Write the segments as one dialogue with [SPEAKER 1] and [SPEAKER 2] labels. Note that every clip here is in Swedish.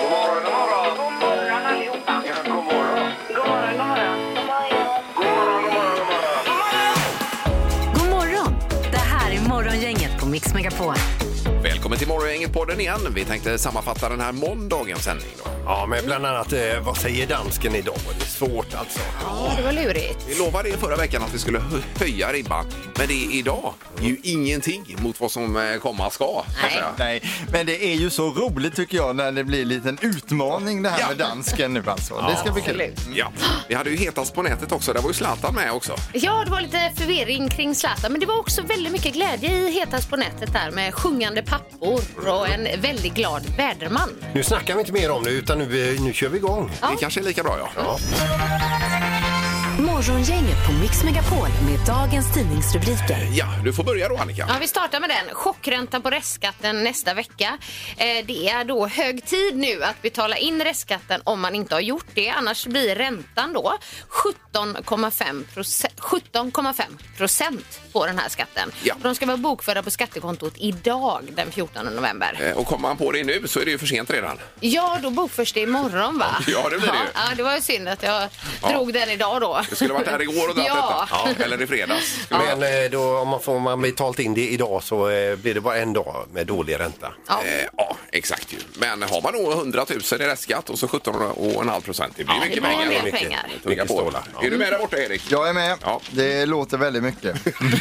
[SPEAKER 1] God morgon, god morgon.
[SPEAKER 2] God morgon allihopa.
[SPEAKER 1] Ja, god morgon.
[SPEAKER 2] God morgon, god morgon.
[SPEAKER 1] God morgon, god morgon,
[SPEAKER 3] God
[SPEAKER 1] god morgon.
[SPEAKER 3] morgon! Det här är Morgongänget på Mix Megapol.
[SPEAKER 4] Välkommen till Morgongänget-podden igen. Vi tänkte sammanfatta den här måndagens sändning. Då.
[SPEAKER 5] Ja, men bland annat, eh, vad säger dansken idag? Det är svårt alltså.
[SPEAKER 6] Ja, det var lurigt.
[SPEAKER 4] Vi lovade ju förra veckan att vi skulle hö- höja ribban, men det är idag ju ingenting mot vad som eh, komma ska. så att säga.
[SPEAKER 7] Nej, men det är ju så roligt tycker jag när det blir en liten utmaning det här
[SPEAKER 4] Ja.
[SPEAKER 7] med dansken nu alltså. Det ska bli kul.
[SPEAKER 6] Absolut.
[SPEAKER 4] Ja. Vi hade ju hetast på nätet också. Där var ju Zlatan med också.
[SPEAKER 6] Ja, det var lite förvirring kring Zlatan, men det var också väldigt mycket glädje i Hetast på nätet där med sjungande pappor och en väldigt glad väderman.
[SPEAKER 5] Nu snackar vi inte mer om det, utan nu, eh, nu kör vi igång.
[SPEAKER 4] Det kanske är lika bra, ja.
[SPEAKER 3] Morgongänget på Mix Megapol med dagens tidningsrubriker.
[SPEAKER 4] Ja, du får börja då, Annika.
[SPEAKER 6] Ja, vi startar med den. Chockräntan på restskatten nästa vecka. Eh, det är då hög tid nu att betala in restskatten om man inte har gjort det. Annars blir räntan då 17,5 proce- 17,5 procent på den här skatten.
[SPEAKER 4] Ja.
[SPEAKER 6] Och de ska vara bokförda på skattekontot idag den 14 november.
[SPEAKER 4] Eh, Och kommer man på det nu så är det ju för sent redan.
[SPEAKER 6] Ja, då bokförs det imorgon va?
[SPEAKER 4] Ja, det blir det ju.
[SPEAKER 6] Ja, det var ju synd att jag drog den idag då.
[SPEAKER 4] Det skulle varit här igår och dragit
[SPEAKER 6] ja.
[SPEAKER 4] detta. Ja, eller i fredags.
[SPEAKER 5] Men eh, då, om man får om man betalt in det idag så eh, blir det bara en dag med dålig ränta.
[SPEAKER 6] Ja.
[SPEAKER 4] Eh, ja, exakt ju. Men har man då 100 000 i restskatt och så 17,5 procent, det blir mycket
[SPEAKER 6] det blir
[SPEAKER 4] pengar.
[SPEAKER 6] mer
[SPEAKER 4] Mycket.
[SPEAKER 6] pengar.
[SPEAKER 4] Tugga på.
[SPEAKER 5] stålar.
[SPEAKER 4] Är du med där borta, Erik?
[SPEAKER 7] Jag är med.
[SPEAKER 4] Ja.
[SPEAKER 7] Det låter väldigt mycket.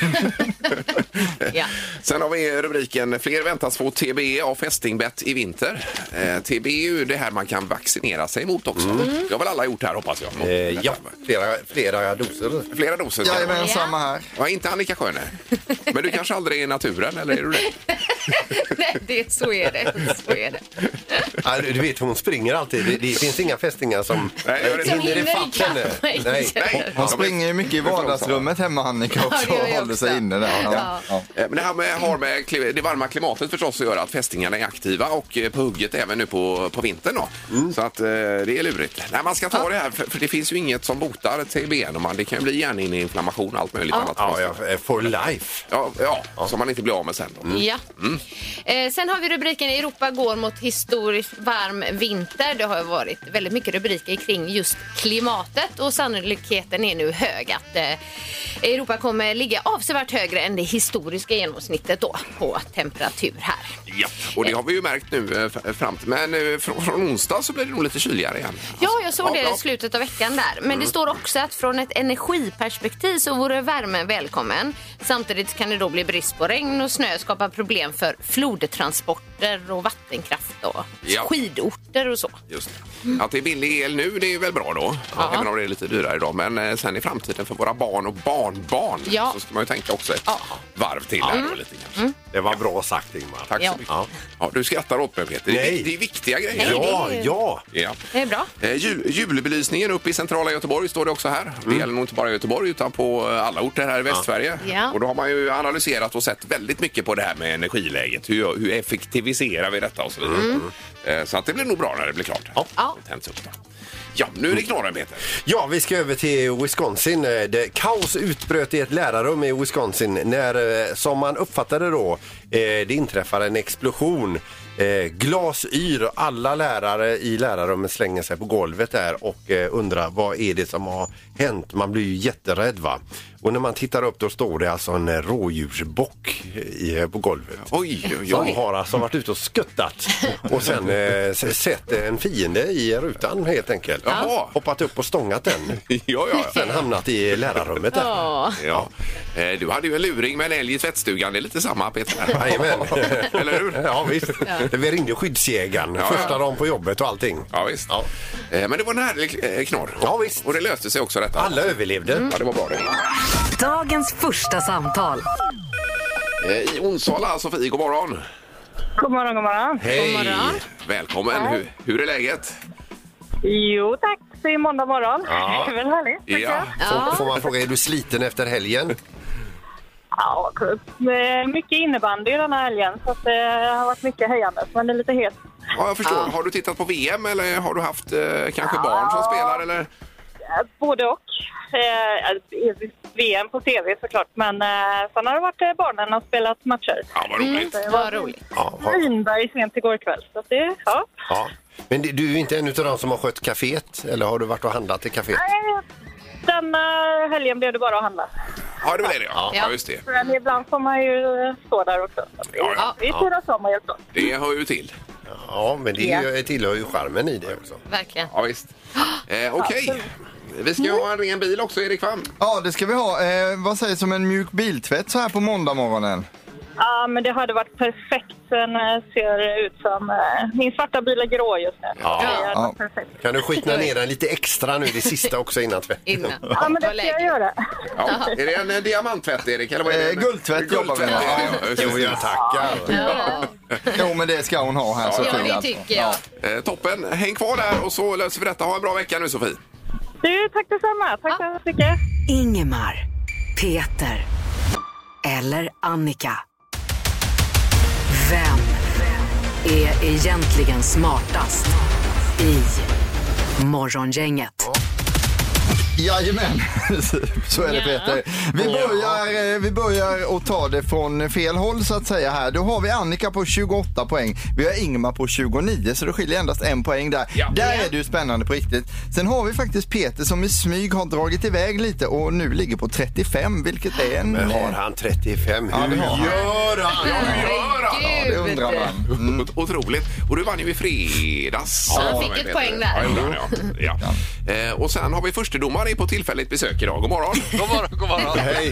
[SPEAKER 6] Ja.
[SPEAKER 4] Sen har vi rubriken Fler väntas få TBE av fästingbett i vinter. Eh, TBE är ju det här man kan vaccinera sig mot också. Det har väl alla gjort här hoppas jag.
[SPEAKER 5] Mm. Eh, ja, flera, flera doser.
[SPEAKER 4] Flera doser. ska det vara.
[SPEAKER 7] Jajamän, samma här.
[SPEAKER 4] Ja, inte Annika Sjöne. Men du kanske aldrig är i naturen, eller är du det?
[SPEAKER 6] Nej, det, så är det. Så är det.
[SPEAKER 5] Ja, du du vet, hon springer alltid. Det, det finns inga fästingar som eh,
[SPEAKER 4] Nej, jag vet
[SPEAKER 6] Som
[SPEAKER 4] inte.
[SPEAKER 5] hinner
[SPEAKER 6] hinner
[SPEAKER 5] ifatt
[SPEAKER 6] ikapp
[SPEAKER 5] henne.
[SPEAKER 6] mig.
[SPEAKER 5] Nej.
[SPEAKER 4] Nej.
[SPEAKER 7] Hon springer ju mycket i vardagsrummet hemma Annika också
[SPEAKER 6] Ja, det gör
[SPEAKER 7] och
[SPEAKER 6] jag
[SPEAKER 7] håller sig
[SPEAKER 6] också.
[SPEAKER 7] inne där.
[SPEAKER 6] Ja.
[SPEAKER 7] Ja. Ja.
[SPEAKER 4] Eh, Men det här med, har med kli- det varma klimatet förstås att göra att fästingarna är aktiva och eh, på hugget även nu på, på vintern. Då.
[SPEAKER 5] Mm.
[SPEAKER 4] Så att eh, det är lurigt. Nej, man ska ta det här för, för det finns ju inget som botar TBE. och man- Det kan ju bli hjärninflammation och allt möjligt annat.
[SPEAKER 5] Ja, ja, eh, for life.
[SPEAKER 4] Ja, ja, som man inte blir av med sen. Då.
[SPEAKER 6] Ja.
[SPEAKER 4] Mm.
[SPEAKER 6] Eh, sen har vi rubriken Europa går mot historiskt varm vinter. Det har ju varit väldigt mycket rubriker kring just klimatet och sannolikheten är nu hög att eh, Europa kommer ligga avsevärt högre än det historiska genomsnittet då på temperatur här.
[SPEAKER 4] Ja, och det har vi ju märkt nu eh, f- fram till. Men eh, från, från onsdag så blir det nog lite kyligare igen.
[SPEAKER 6] Ja, jag såg
[SPEAKER 4] Ja, Alltså,
[SPEAKER 6] det
[SPEAKER 4] bra. Mm.
[SPEAKER 6] i slutet av veckan där. Men det står också att från ett energiperspektiv så vore värmen välkommen. Samtidigt kan det då bli brist på regn och snö skapa problem för flodtransporter och vattenkraft och
[SPEAKER 4] Ja.
[SPEAKER 6] skidorter och så.
[SPEAKER 4] Just det. Att det är billig el nu, det är väl bra då.
[SPEAKER 6] Ja.
[SPEAKER 4] Även om det är lite dyrare idag. Men eh, sen i framtiden för våra barn och barnbarn
[SPEAKER 6] Ja.
[SPEAKER 4] så ska man ju tänka också ett
[SPEAKER 6] Ja. Mm.
[SPEAKER 4] varv till här då lite grann.
[SPEAKER 5] Det var bra sagt, Ingmar.
[SPEAKER 4] Tack så
[SPEAKER 6] Ja.
[SPEAKER 4] mycket. Ja. du skrattar åt mig Peter. Det
[SPEAKER 5] Nej.
[SPEAKER 4] är, vik- det är viktiga grejer.
[SPEAKER 6] Nej,
[SPEAKER 5] Ja,
[SPEAKER 6] det är ju-
[SPEAKER 5] ja.
[SPEAKER 4] Ja.
[SPEAKER 6] Det är bra.
[SPEAKER 4] Eh, Jul, julbelysningen uppe i centrala Göteborg står det också här. Det gäller nog inte bara Göteborg utan på eh, alla orter här i Västsverige.
[SPEAKER 6] Ja.
[SPEAKER 4] Och då har man ju analyserat och sett väldigt mycket på det här med energiläget. Hur, hur effektiviserar vi detta och så vidare. Eh, Så att det blir nog bra när det blir klart.
[SPEAKER 6] Mm. Ja.
[SPEAKER 4] Det tänds upp då. Ja, nu är det knorren Peter.
[SPEAKER 5] Ja, vi ska över till Wisconsin. Eh, Det, kaos utbröt i ett lärarrum i Wisconsin när, eh, som man uppfattade då, eh, det inträffar en explosion. Eh, glas yr och alla lärare i lärarrummet slänger sig på golvet där och eh, undrar vad är det som har hänt? Man blir ju jätterädd va? Och när man tittar upp då står det alltså en eh, rådjursbock i, eh, på golvet.
[SPEAKER 4] Oj, oj,
[SPEAKER 5] Som
[SPEAKER 4] oj.
[SPEAKER 5] har alltså varit ute och skuttat och sen eh, s- sett en fiende i rutan helt enkelt.
[SPEAKER 4] Jaha.
[SPEAKER 5] Hoppat upp och stångat den.
[SPEAKER 4] Ja, ja, ja.
[SPEAKER 5] Sen hamnat i lärarrummet där.
[SPEAKER 6] Ja.
[SPEAKER 4] ja. Eh, Du hade ju en luring med en älg i tvättstugan. Det är lite samma Peter.
[SPEAKER 5] Jajamän.
[SPEAKER 4] Eller hur?
[SPEAKER 5] Ja, visst. Vi ringde skyddsjägaren
[SPEAKER 4] Ja,
[SPEAKER 5] första
[SPEAKER 4] ja.
[SPEAKER 5] dagen på jobbet och allting.
[SPEAKER 4] Ja, visst. Eh, Men det var en härlig eh, knorr.
[SPEAKER 5] Ja, visst.
[SPEAKER 4] Och det löste sig också detta.
[SPEAKER 5] Alla överlevde.
[SPEAKER 4] Ja, det var bra det.
[SPEAKER 3] Dagens första samtal.
[SPEAKER 4] Eh, I Onsala, Sofie, god morgon.
[SPEAKER 8] God morgon, god morgon.
[SPEAKER 5] Hej!
[SPEAKER 6] morgon.
[SPEAKER 4] Välkommen. Hur, hur är läget?
[SPEAKER 8] Jo tack, det är måndag morgon. Det är väl härligt? tycker jag.
[SPEAKER 5] Får, får man fråga, är du sliten efter helgen?
[SPEAKER 8] Ja, kul. Eh, Mycket innebandy den här helgen, så att eh, det har varit mycket höjande. Men det är lite het.
[SPEAKER 4] ja, jag förstår. Har du tittat på VM eller har du haft eh, kanske barn som spelar? Eller?
[SPEAKER 8] eh, både och. Eh, eh, VM på tv såklart, men eh, sen har det varit eh, barnen och spelat matcher.
[SPEAKER 4] Ja, vad roligt.
[SPEAKER 8] Det
[SPEAKER 6] Vad roligt.
[SPEAKER 5] Ja, ha-
[SPEAKER 8] Vinberg sent igår kväll. Så att det, ja.
[SPEAKER 5] ja. Men det- du är inte en av dem som har skött kaféet? Eller har du varit och handlat i kaféet?
[SPEAKER 8] Nej, Denna Eh, helgen blev det bara att handla.
[SPEAKER 4] Ja, det blev det. Ja.
[SPEAKER 6] Ja.
[SPEAKER 4] ja, just det.
[SPEAKER 8] Men ibland får man ju eh, stå där också. Så att vi-
[SPEAKER 4] Ja, ja.
[SPEAKER 8] Vi turas om och hjälps åt.
[SPEAKER 4] Det hör ju till.
[SPEAKER 5] Ja, men det är ju, tillhör ju charmen i det också.
[SPEAKER 6] Verkligen.
[SPEAKER 4] Ja, visst. Eh, Okej. Vi ska ju ha en ren bil också, Erik Fram.
[SPEAKER 7] Ja, det ska vi ha. Eh, vad sägs om en mjuk biltvätt så här på måndag morgonen?
[SPEAKER 8] Ja, men det hade varit perfekt. Sen eh, ser det ut som... eh, Min svarta bil är grå just nu.
[SPEAKER 5] Ja.
[SPEAKER 8] Det hade varit
[SPEAKER 7] Ja.
[SPEAKER 8] perfekt.
[SPEAKER 5] Kan du skitna ner den lite extra nu, det sista också innan tvätten?
[SPEAKER 6] Innan.
[SPEAKER 8] Ja, men det
[SPEAKER 6] Vad
[SPEAKER 8] ska jag
[SPEAKER 6] lägligt.
[SPEAKER 8] göra.
[SPEAKER 4] Ja. Är det en eh, diamanttvätt, Erik? Eller vad är det?
[SPEAKER 7] Eh, guldtvätt jobbar vi med.
[SPEAKER 4] Guldtvätt, ja, just
[SPEAKER 5] Jo,
[SPEAKER 4] det.
[SPEAKER 5] jag tackar.
[SPEAKER 6] Ja,
[SPEAKER 7] Jo, men det ska hon ha här
[SPEAKER 6] ja,
[SPEAKER 7] Sofia.
[SPEAKER 6] det tycker jag.
[SPEAKER 4] Eh, Toppen. Häng kvar där och så löser vi detta. Ha en bra vecka nu, Sofie.
[SPEAKER 8] Du, tack detsamma. Tack så hemskt mycket.
[SPEAKER 3] Ingemar, Peter eller Annika. Vem är egentligen smartast i Morgongänget?
[SPEAKER 7] Jajamän, så är det
[SPEAKER 6] Ja.
[SPEAKER 7] Peter. Vi börjar, eh, vi börjar att ta det från fel håll så att säga här. Då har vi Annika på 28 poäng. Vi har Ingmar på 29 så det skiljer endast en poäng där.
[SPEAKER 4] Ja.
[SPEAKER 7] Där är det ju spännande på riktigt. Sen har vi faktiskt Peter som i smyg har dragit iväg lite och nu ligger på 35 vilket är en...
[SPEAKER 5] Men har han 35?
[SPEAKER 7] Ja,
[SPEAKER 5] Hur
[SPEAKER 7] det har han.
[SPEAKER 5] gör han?
[SPEAKER 4] Herregud.
[SPEAKER 7] Det undrar man.
[SPEAKER 4] Ot- Mm. Otroligt. Och du vann ju i fredags.
[SPEAKER 6] Ja, han fick ett poäng där.
[SPEAKER 4] Ja, gjorde han, ja. ja. Eh, och sen har vi förstedomare på tillfälligt besök idag. God morgon.
[SPEAKER 9] God morgon, god morgon.
[SPEAKER 5] Hej!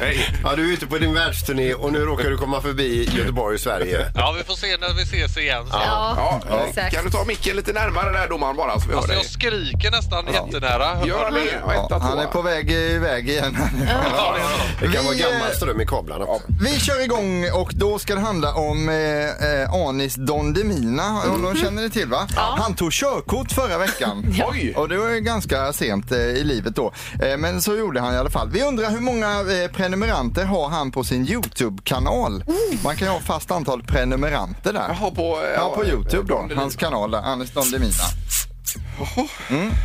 [SPEAKER 4] Hej.
[SPEAKER 5] Ja, du är ute på din världsturné och nu råkar du komma förbi Göteborg och Sverige.
[SPEAKER 9] Ja, vi får se när vi ses igen.
[SPEAKER 4] Ja,
[SPEAKER 6] Ja,
[SPEAKER 4] eh,
[SPEAKER 6] exakt.
[SPEAKER 4] Kan du ta micken lite närmare där domaren bara så vi hör
[SPEAKER 9] Alltså,
[SPEAKER 4] dig?
[SPEAKER 9] jag skriker nästan jättenära.
[SPEAKER 4] Gör han det? Ja,
[SPEAKER 7] Ja,
[SPEAKER 4] etta,
[SPEAKER 7] han är
[SPEAKER 4] tvåa.
[SPEAKER 7] på väg eh, iväg igen.
[SPEAKER 9] Ja, det är så.
[SPEAKER 5] Det kan
[SPEAKER 7] Vi,
[SPEAKER 5] vara gammal
[SPEAKER 7] eh,
[SPEAKER 5] ström i kablarna också.
[SPEAKER 7] Vi kör igång och då ska det handla om eh, eh, Anis Don Demina. Och
[SPEAKER 4] Mm.
[SPEAKER 7] De känner ni till va? Han tog körkort förra veckan.
[SPEAKER 4] Oj!
[SPEAKER 7] Och det var ju ganska sent eh, i livet då. Eh, men så gjorde han i alla fall. Vi undrar hur många eh, prenumeranter har han på sin YouTube-kanal? Man kan ju ha fast antal prenumeranter där.
[SPEAKER 4] Jaha, på, eh,
[SPEAKER 7] Ja, på YouTube
[SPEAKER 4] Don
[SPEAKER 7] då.
[SPEAKER 4] Demina.
[SPEAKER 7] Hans kanal, där, Anis Don Demina.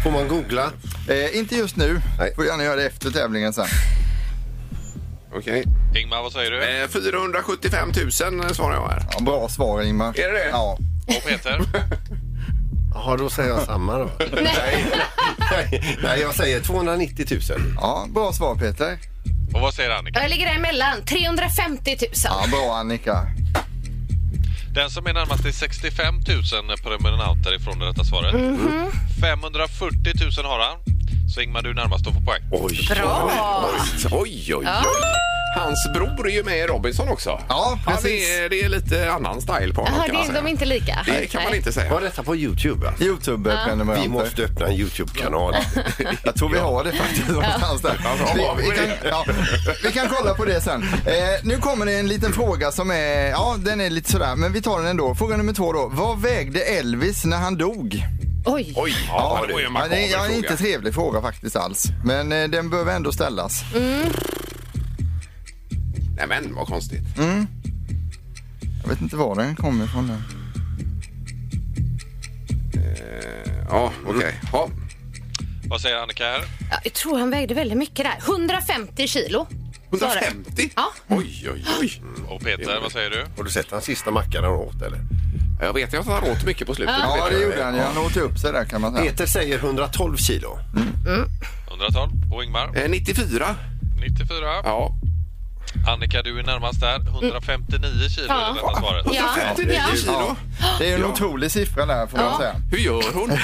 [SPEAKER 5] Får man googla?
[SPEAKER 7] Eh, inte just nu.
[SPEAKER 5] Nej.
[SPEAKER 7] Får gärna göra det efter tävlingen sen.
[SPEAKER 4] Okej.
[SPEAKER 9] Ingmar, vad säger du?
[SPEAKER 4] Eh, 475 000 svarar jag här.
[SPEAKER 7] Ja, bra svar Ingmar.
[SPEAKER 4] Är det det?
[SPEAKER 7] Ja.
[SPEAKER 9] Och Peter?
[SPEAKER 5] Ja, då säger jag samma då. Nej. Nej, nej, jag säger 290 000.
[SPEAKER 7] ja, bra svar Peter.
[SPEAKER 9] Och vad säger Annika?
[SPEAKER 6] Jag ligger däremellan. 350
[SPEAKER 7] Ja,
[SPEAKER 6] 000.
[SPEAKER 7] bra Annika.
[SPEAKER 9] Den som är närmast är 65 000 prenumeranter ifrån det rätta svaret.
[SPEAKER 4] Mhm.
[SPEAKER 9] 540 000 har han. Så Ingmar, du är närmast att få poäng.
[SPEAKER 4] Oj.
[SPEAKER 6] Bra.
[SPEAKER 4] Oj, oj, oj. Hans bror är ju med i Robinson också.
[SPEAKER 7] Ja, precis.
[SPEAKER 4] det, är, det är lite annan style på honom
[SPEAKER 6] Jaha,
[SPEAKER 4] kan man
[SPEAKER 6] det,
[SPEAKER 4] säga.
[SPEAKER 6] de är inte lika?
[SPEAKER 4] Det kan man
[SPEAKER 6] Nej.
[SPEAKER 4] inte säga.
[SPEAKER 5] Var detta på Youtube? alltså?
[SPEAKER 7] Youtube-prenumeranter.
[SPEAKER 5] Vi måste öppna en Youtube-kanal.
[SPEAKER 7] Jag tror vi har det faktiskt någonstans där.
[SPEAKER 4] Ja, bra.
[SPEAKER 7] Vi, vi, kan, ja, vi kan kolla på det sen. Eh, nu kommer det en liten fråga som är, ja den är lite sådär, men vi tar den ändå. Fråga nummer två då. Vad vägde Elvis när han dog?
[SPEAKER 6] Oj.
[SPEAKER 4] Oj, ja, det var ju en
[SPEAKER 7] Ja,
[SPEAKER 4] makaber
[SPEAKER 7] det är ja,
[SPEAKER 4] fråga.
[SPEAKER 7] inte trevlig fråga faktiskt alls. Men eh, den behöver ändå ställas.
[SPEAKER 4] Nej men vad konstigt.
[SPEAKER 7] Jag vet inte var den kommer ifrån. Den.
[SPEAKER 4] Ja, okej. Ja.
[SPEAKER 9] Vad säger Annika här?
[SPEAKER 6] Ja, Jag tror han vägde väldigt mycket där. 150 kilo. sa det.
[SPEAKER 4] 150?
[SPEAKER 6] Ja.
[SPEAKER 4] Oj, oj, oj.
[SPEAKER 9] Och Peter, vad säger du?
[SPEAKER 5] Har du sett den sista mackan han åt eller?
[SPEAKER 4] Jag vet ju att han åt mycket på slutet.
[SPEAKER 7] Ja, det gjorde han ju. Han åt ju upp sig där kan man säga.
[SPEAKER 5] Peter säger 112 kilo.
[SPEAKER 9] 112. Och Ingmar?
[SPEAKER 4] Eh, 94.
[SPEAKER 9] 94.
[SPEAKER 4] Ja.
[SPEAKER 9] Annika, du är närmast där. 159 kilo är
[SPEAKER 6] Ja.
[SPEAKER 9] det rätta svaret.
[SPEAKER 6] Ja.
[SPEAKER 4] 159
[SPEAKER 6] Ja.
[SPEAKER 4] kilo.
[SPEAKER 7] Ja. Det är ju en otrolig siffra där får man säga.
[SPEAKER 4] Hur gör hon?
[SPEAKER 6] Hur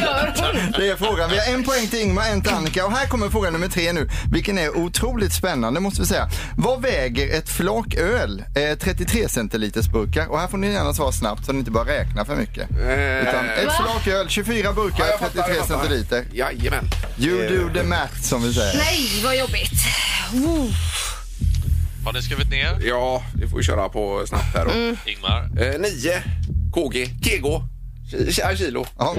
[SPEAKER 6] gör hon?
[SPEAKER 7] Det är frågan. Vi har en poäng till Ingmar, en till Annika. Och här kommer fråga nummer tre nu, vilken är otroligt spännande måste vi säga. Vad väger ett flak öl? Eh, 33 centiliters burkar. Och här får ni gärna svara snabbt så ni inte bara räknar för mycket. Utan ett
[SPEAKER 4] Eh, Va?
[SPEAKER 7] flak öl, 24 burkar,
[SPEAKER 4] Ja, jag fattar,
[SPEAKER 7] 33
[SPEAKER 4] jag fattar. Eh.
[SPEAKER 7] centiliter.
[SPEAKER 4] Jajamän.
[SPEAKER 7] You do the math som vi säger.
[SPEAKER 6] Nej, vad jobbigt. Oh.
[SPEAKER 9] Har ni skrivit ner?
[SPEAKER 4] Ja, vi får köra på snabbt här då.
[SPEAKER 7] Mm.
[SPEAKER 9] Ingmar,
[SPEAKER 4] Eh, 9 KG. KG. Ki- Kilo.
[SPEAKER 7] Ja.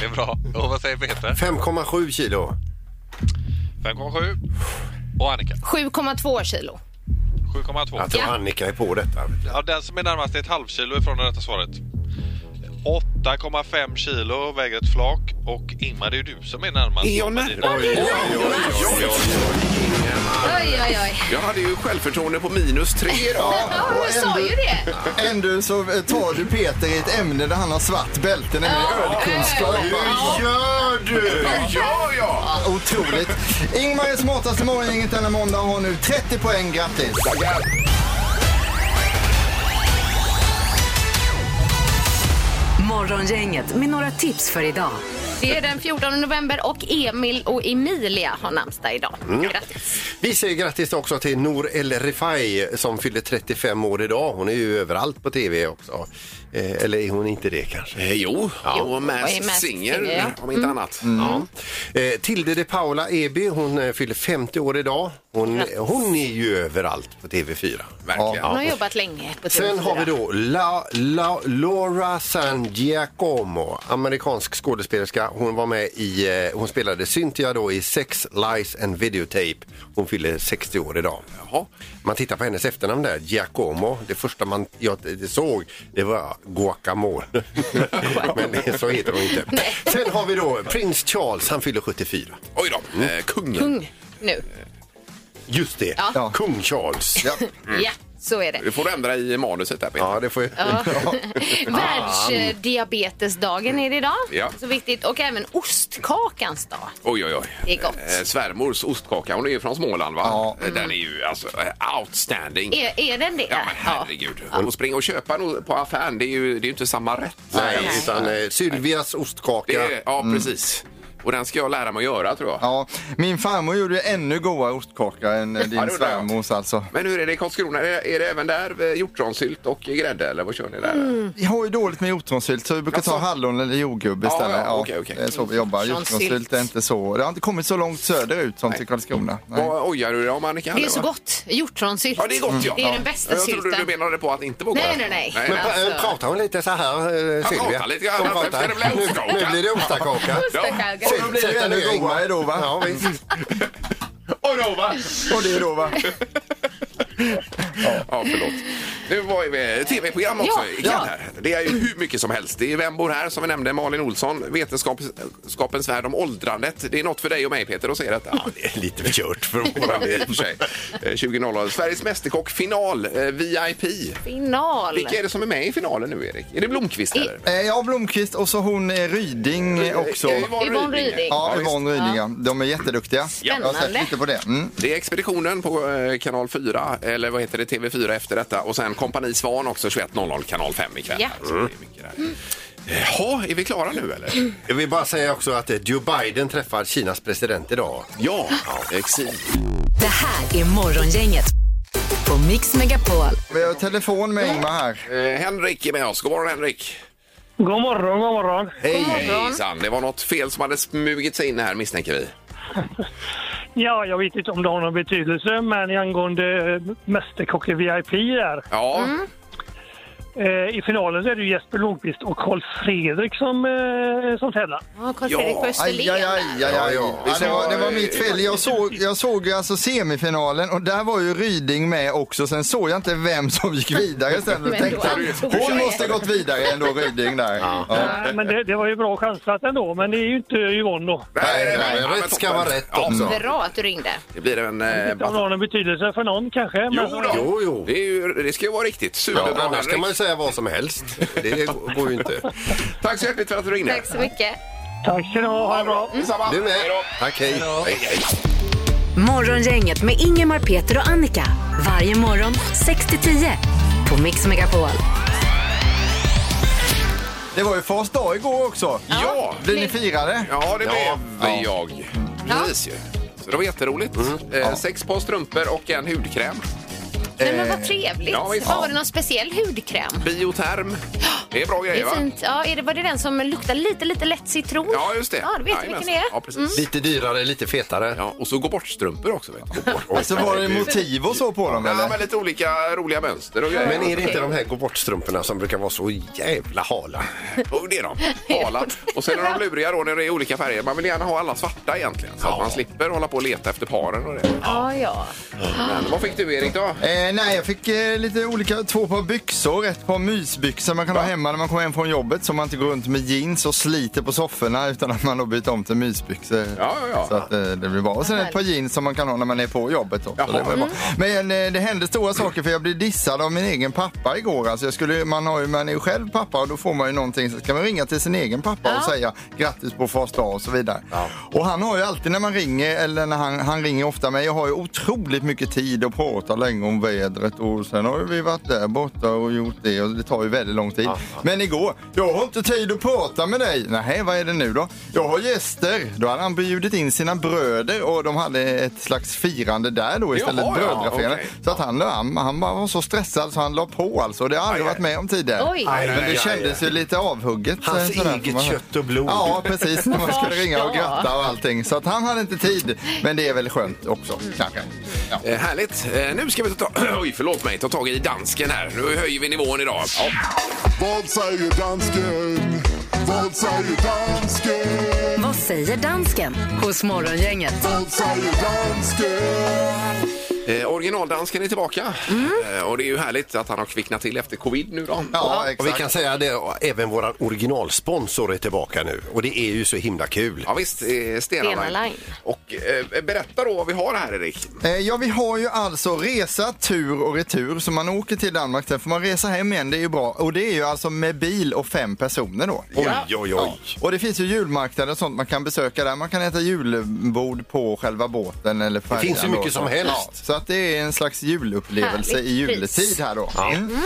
[SPEAKER 9] det är bra. Och vad säger Peter?
[SPEAKER 5] 5,7 kilo.
[SPEAKER 9] 5,7. Och Annika?
[SPEAKER 6] 7,2 kilo.
[SPEAKER 9] 7,2.
[SPEAKER 5] Jag tror
[SPEAKER 6] Ja.
[SPEAKER 5] Annika är på detta.
[SPEAKER 9] Ja, den som är närmast är ett halvkilo ifrån det rätta svaret. 8,5 kilo väger ett flak och Ingmar, det är ju du som är närmast.
[SPEAKER 4] Är jag
[SPEAKER 9] Men
[SPEAKER 4] närmast?
[SPEAKER 9] det är du.
[SPEAKER 4] Oj, oj, oj, oj, oj.
[SPEAKER 6] Oj, oj, oj.
[SPEAKER 4] Jag hade ju självförtroende på minus tre idag.
[SPEAKER 6] Ja,
[SPEAKER 7] och
[SPEAKER 6] jag sa
[SPEAKER 7] ändå-
[SPEAKER 6] ju det.
[SPEAKER 7] Ändå så eh, tar du Peter i ett ämne där han har svart bälte, nämligen
[SPEAKER 6] Ja.
[SPEAKER 7] ölkunskap.
[SPEAKER 5] Hur gör du?
[SPEAKER 4] Ja, ja!
[SPEAKER 7] Otroligt. Ingmar är smartaste morgongänget denna måndag och har nu 30 poäng. Grattis!
[SPEAKER 3] Morgongänget med några tips för idag.
[SPEAKER 6] Det är den 14 november och Emil och Emilia har namnsdag idag.
[SPEAKER 4] Mm.
[SPEAKER 6] Grattis.
[SPEAKER 5] Vi säger grattis också till Nour El Refai som fyller 35 år idag. Hon är ju överallt på tv också. Eh, eller är hon inte det kanske?
[SPEAKER 4] Eh, Jo, och
[SPEAKER 6] Masked
[SPEAKER 4] Masked
[SPEAKER 6] Singer,
[SPEAKER 4] Singer
[SPEAKER 6] ja. Mm.
[SPEAKER 4] om inte annat.
[SPEAKER 5] Ja. Eh, Tilde de Paula Eby, hon eh, fyller 50 år idag. Hon, hon är ju överallt på TV4.
[SPEAKER 4] Verkligen.
[SPEAKER 6] Hon har jobbat länge på TV4.
[SPEAKER 5] Sen har vi då La, La, Laura San Giacomo, amerikansk skådespelerska. Hon var med i, eh, hon spelade Cynthia då i Sex, Lies and Videotape. Hon fyller 60 år idag.
[SPEAKER 4] Jaha.
[SPEAKER 5] Man tittar på hennes efternamn där, Giacomo. Det första man jag t- såg det var guacamole. Men så heter hon inte. Sen har vi då prins Charles, han fyller 74.
[SPEAKER 4] Oj då,
[SPEAKER 7] Mm.
[SPEAKER 4] eh, kungen.
[SPEAKER 6] Kung nu.
[SPEAKER 5] Just det,
[SPEAKER 6] Ja.
[SPEAKER 5] kung Charles. Ja,
[SPEAKER 4] Mm.
[SPEAKER 6] Ja, så är det.
[SPEAKER 4] Du får du ändra i manuset där Peter.
[SPEAKER 5] ja det får jag.
[SPEAKER 6] Ja. Världsdiabetesdagen är det idag.
[SPEAKER 4] Ja.
[SPEAKER 6] Så viktigt. Och även ostkakans dag.
[SPEAKER 4] Oj, oj, oj.
[SPEAKER 6] Det är gott.
[SPEAKER 4] Eh, svärmors ostkaka, hon är ju från Småland va?
[SPEAKER 7] Ja.
[SPEAKER 4] Eh, Den är ju alltså eh, outstanding.
[SPEAKER 6] Är, är den det?
[SPEAKER 4] Ja men herregud. Och springa och köpa no- på affären, det är ju, det är ju inte samma rätt.
[SPEAKER 5] Nej, utan eh, Sylvias
[SPEAKER 4] Det
[SPEAKER 5] ostkaka.
[SPEAKER 4] är, ja, precis. Och den ska jag lära mig att göra tror jag.
[SPEAKER 7] Mm. Ja, min farmor gjorde ännu godare ostkaka än eh,
[SPEAKER 4] Ja,
[SPEAKER 7] din
[SPEAKER 4] det undrar jag.
[SPEAKER 7] svärmors alltså.
[SPEAKER 4] Men hur är det i Karlskrona? Är det, är det även där eh, hjortronsylt och grädde eller vad kör ni där?
[SPEAKER 6] Mm.
[SPEAKER 7] Vi har ju dåligt med hjortronsylt så vi brukar ta
[SPEAKER 4] Jaså?
[SPEAKER 7] hallon eller jordgubb
[SPEAKER 4] Ja,
[SPEAKER 7] istället.
[SPEAKER 4] ja, okej, okej.
[SPEAKER 7] Det är så vi jobbar.
[SPEAKER 6] Hjortronsylt.
[SPEAKER 7] Hjortronsylt är inte så. Det har inte kommit så långt söderut som till Karlskrona. Nej.
[SPEAKER 4] Vad ojar du dig om Annika?
[SPEAKER 6] Det är
[SPEAKER 4] eller,
[SPEAKER 6] så
[SPEAKER 4] va?
[SPEAKER 6] gott. Hjortronsylt.
[SPEAKER 4] Ja, det är gott ja.
[SPEAKER 6] Det är den bästa
[SPEAKER 4] Jag trodde du
[SPEAKER 6] sylten.
[SPEAKER 4] menade på att det inte var gott.
[SPEAKER 6] Nej, nej, nej.
[SPEAKER 5] Men
[SPEAKER 6] Ja.
[SPEAKER 5] pra-
[SPEAKER 6] Alltså-
[SPEAKER 5] pratar Eh, hon lite så här, eh, Sylvia?
[SPEAKER 4] pratar lite grann.
[SPEAKER 5] Hon
[SPEAKER 4] Sen ska det bli
[SPEAKER 5] Nu-
[SPEAKER 4] ostkaka.
[SPEAKER 5] Nu blir det ostkaka.
[SPEAKER 6] Ostkaka.
[SPEAKER 7] Och då blir det ju ännu
[SPEAKER 5] Sätta ner,
[SPEAKER 7] godare då va?
[SPEAKER 5] Ja, visst.
[SPEAKER 4] Och eh, då va?
[SPEAKER 7] Och det då va?
[SPEAKER 4] Ja, förlåt. Nu var vi tv-program också
[SPEAKER 6] Ja,
[SPEAKER 4] ikväll
[SPEAKER 6] ja.
[SPEAKER 4] här. Det är ju hur mycket som helst. Det är Vem bor här? som vi nämnde, Malin Olsson. Vetenskapens värld om åldrandet. Det är något för dig och mig Peter att se detta.
[SPEAKER 5] Det är Lite kört för
[SPEAKER 4] Ja,
[SPEAKER 5] våran
[SPEAKER 4] det är i
[SPEAKER 5] del.
[SPEAKER 4] och för sig. Eh, 20.00. Sveriges Mästerkock final, eh, VIP.
[SPEAKER 6] Final.
[SPEAKER 4] Vilka är det som är med i finalen nu, Erik? Är det Blomqvist eller?
[SPEAKER 7] Eh, Jag har Blomqvist och så hon eh, Ryding eh, också.
[SPEAKER 4] Eh,
[SPEAKER 6] Yvonne
[SPEAKER 4] Ryding.
[SPEAKER 6] Ryding.
[SPEAKER 7] Ja,
[SPEAKER 4] visst.
[SPEAKER 7] Yvonne Ryding. ja. De är jätteduktiga. Jag har sett
[SPEAKER 6] Spännande.
[SPEAKER 7] lite på det. Mm.
[SPEAKER 4] Det är Expeditionen på eh, kanal 4, eller vad heter det, TV4 efter detta. Och sen Kompani Svan också 21.00 kanal 5 ikväll.
[SPEAKER 6] Ja.
[SPEAKER 4] Så det är mycket där. Jaha, är vi klara nu eller?
[SPEAKER 5] Jag vill bara säga också att eh, Joe Biden träffar Kinas president idag.
[SPEAKER 4] Ja, exil.
[SPEAKER 3] Det här är Morgongänget på Mix Megapol.
[SPEAKER 7] Vi har telefon med Ingmar här.
[SPEAKER 4] Eh, Henrik är med oss. God morgon Henrik.
[SPEAKER 8] God morgon, god morgon.
[SPEAKER 4] Hej. Hejsan. Det var något fel som hade smugit sig in här misstänker vi.
[SPEAKER 8] Ja, jag vet inte om det har någon betydelse, men angående eh, Mästerkocken VIP där.
[SPEAKER 4] Ja,
[SPEAKER 5] Mm.
[SPEAKER 8] Eh, I finalen så är det ju Jesper Blomqvist och Carl Fredrik som, eh, som tävlar.
[SPEAKER 6] Ja, Carl Fredrik
[SPEAKER 4] Ja,
[SPEAKER 6] på Österlen.
[SPEAKER 7] Aj, aj, aj, aj, aj.
[SPEAKER 5] Ja, ja.
[SPEAKER 7] Ja, det, var, det var mitt fel. Jag såg, jag såg ju alltså semifinalen och där var ju Ryding med också. Sen såg jag inte vem som gick vidare sen. Men
[SPEAKER 6] Men då
[SPEAKER 7] tänkte
[SPEAKER 6] antog
[SPEAKER 7] jag,
[SPEAKER 6] jag
[SPEAKER 7] hon
[SPEAKER 6] det.
[SPEAKER 7] måste gått vidare ändå, Ryding där. Ja.
[SPEAKER 8] Nej, Eh, men det, det var ju bra chansat ändå, men det är ju inte Yvonne då.
[SPEAKER 4] Nej,
[SPEAKER 5] nej,
[SPEAKER 4] nej,
[SPEAKER 5] nej,
[SPEAKER 4] men
[SPEAKER 5] rätt ska
[SPEAKER 4] toppen.
[SPEAKER 5] vara rätt
[SPEAKER 4] Ja,
[SPEAKER 5] också.
[SPEAKER 6] Bra att du ringde.
[SPEAKER 4] Det blir en...
[SPEAKER 1] Mm.
[SPEAKER 4] Eh,
[SPEAKER 8] Inte om det
[SPEAKER 4] bat-
[SPEAKER 8] har någon betydelse för någon kanske.
[SPEAKER 4] jo,
[SPEAKER 8] men-
[SPEAKER 4] då.
[SPEAKER 5] Jo, jo.
[SPEAKER 4] Det, är ju, det ska ju vara riktigt superbra
[SPEAKER 5] Ja, annars
[SPEAKER 4] Henrik.
[SPEAKER 5] kan man ju säga vad som helst. Det går ju inte.
[SPEAKER 4] Tack så hjärtligt för att du ringde.
[SPEAKER 6] Tack så mycket.
[SPEAKER 8] Tack ska ni ha, ha det bra.
[SPEAKER 4] Detsamma.
[SPEAKER 5] Du
[SPEAKER 4] Hej
[SPEAKER 5] med.
[SPEAKER 4] då.
[SPEAKER 5] Tack, hej.
[SPEAKER 4] Hej, hej.
[SPEAKER 3] Morgongänget med Ingemar, Peter och Annika. Varje morgon 6 till 10 på Mix Megapol.
[SPEAKER 7] Det var ju fars dag igår också.
[SPEAKER 4] Ja,
[SPEAKER 7] Blir ni firade?
[SPEAKER 4] ja det
[SPEAKER 5] Ja.
[SPEAKER 4] blev jag. Precis ju. Så det var jätteroligt. Eh, Sex par strumpor och en hudkräm.
[SPEAKER 6] Nej, men vad trevligt.
[SPEAKER 4] Eh, ja, visst.
[SPEAKER 6] Vad Var det någon speciell hudkräm?
[SPEAKER 4] Bioterm. Det är bra
[SPEAKER 6] Det
[SPEAKER 4] grejer
[SPEAKER 6] är
[SPEAKER 4] va?
[SPEAKER 6] fint. Ja, är det, var det den som luktar lite, lite lätt citron?
[SPEAKER 4] Ja, just det.
[SPEAKER 6] Ja, du vet
[SPEAKER 4] Jajamän.
[SPEAKER 6] vilken det är. Mm.
[SPEAKER 4] Ja, precis.
[SPEAKER 5] Lite dyrare, lite fetare.
[SPEAKER 4] Ja, och så gå bort-strumpor också. Vet du.
[SPEAKER 7] Så Alltså, var det motiv och så på dem
[SPEAKER 4] Ja,
[SPEAKER 7] eller?
[SPEAKER 4] men lite olika roliga mönster och grejer.
[SPEAKER 5] Men är det inte de här gå bort-strumporna som brukar vara så jävla hala?
[SPEAKER 4] Jo, det är de. Hala. Och sen är de luriga då när det är olika färger. Man vill gärna ha alla svarta egentligen. Så att man slipper hålla på och leta efter paren och det.
[SPEAKER 6] Ja, ja.
[SPEAKER 4] Men vad fick du Erik då?
[SPEAKER 7] Eh, nej, jag fick eh, lite olika, två par byxor, ett par mysbyxor man kan ha hemma när man kommer hem från jobbet så man inte går runt med jeans och sliter på sofforna utan att man har bytt om till mysbyxor.
[SPEAKER 4] Ja, ja, ja.
[SPEAKER 7] Så att eh, det blir bra. Och sen ett par jeans som man kan ha när man är på jobbet. Då, så
[SPEAKER 4] Jaha. Mm.
[SPEAKER 7] det var ju bra. Men eh, det hände stora saker för jag blev dissad av min egen pappa igår. Alltså jag skulle, man, har ju, man är ju själv pappa och då får man ju någonting. Så ska man ringa till sin egen pappa och säga grattis på fars dag och så vidare. Och han har ju alltid när man ringer, eller när han, han ringer ofta mig, jag har ju otroligt mycket tid att prata länge om vädret och sen har ju vi varit där borta och gjort det och det tar ju väldigt lång tid. Men igår, jag har inte tid att prata med dig. Nej, vad är det nu då? Jag har gäster. Då hade han bjudit in sina bröder och de hade ett slags firande där då istället.
[SPEAKER 4] Jaha, ja,
[SPEAKER 7] Brödrafirande.
[SPEAKER 4] okej.
[SPEAKER 7] Så att han, han, han bara var så stressad så han la på alltså. Det har jag aldrig
[SPEAKER 4] Aj, aj.
[SPEAKER 7] varit med om tidigare.
[SPEAKER 6] Oj.
[SPEAKER 5] Aj,
[SPEAKER 7] Men
[SPEAKER 5] aj, aj,
[SPEAKER 7] det kändes ju
[SPEAKER 5] aj.
[SPEAKER 7] lite avhugget. eh,
[SPEAKER 5] Hans
[SPEAKER 7] sådär, får
[SPEAKER 5] eget
[SPEAKER 7] man säga.
[SPEAKER 5] kött och blod.
[SPEAKER 7] Ja, precis. När man skulle ringa och
[SPEAKER 6] Förstå.
[SPEAKER 7] gratta och allting. Så att han hade inte tid. Men det är väl skönt också, kanske. Ja.
[SPEAKER 4] Eh, Härligt. Eh, Nu ska vi ta, oj, förlåt mig, ta tag i dansken här. Nu höjer vi nivån idag. Ja.
[SPEAKER 10] Vad säger dansken? Vad säger dansken?
[SPEAKER 3] Vad säger dansken hos Morgongänget?
[SPEAKER 10] Vad säger dansken?
[SPEAKER 4] Eh, Originaldansken är tillbaka. Eh, Och det är ju härligt att han har kvicknat till efter covid nu då.
[SPEAKER 7] Ja,
[SPEAKER 5] Och vi kan
[SPEAKER 7] exakt.
[SPEAKER 5] säga det, och även våran originalsponsor är tillbaka nu och det är ju så himla kul.
[SPEAKER 4] Ja visst, eh, Stena
[SPEAKER 6] Stena
[SPEAKER 4] Line.
[SPEAKER 6] Line.
[SPEAKER 4] Och eh, berätta då vad vi har här Erik.
[SPEAKER 7] Eh, Ja, vi har ju alltså resa, tur och retur. Så man åker till Danmark, sen får man resa hem igen. Det är ju bra. Och det är ju alltså med bil och fem personer då.
[SPEAKER 5] Oj, oj, oj.
[SPEAKER 7] Och det finns ju julmarknader och sånt man kan besöka där. Man kan äta julbord på själva båten eller färjan.
[SPEAKER 5] finns ju mycket
[SPEAKER 7] då.
[SPEAKER 5] som helst.
[SPEAKER 7] Ja, så att det är en slags julupplevelse
[SPEAKER 6] Härligt
[SPEAKER 7] i juletid
[SPEAKER 6] pris.
[SPEAKER 7] här då. Mm.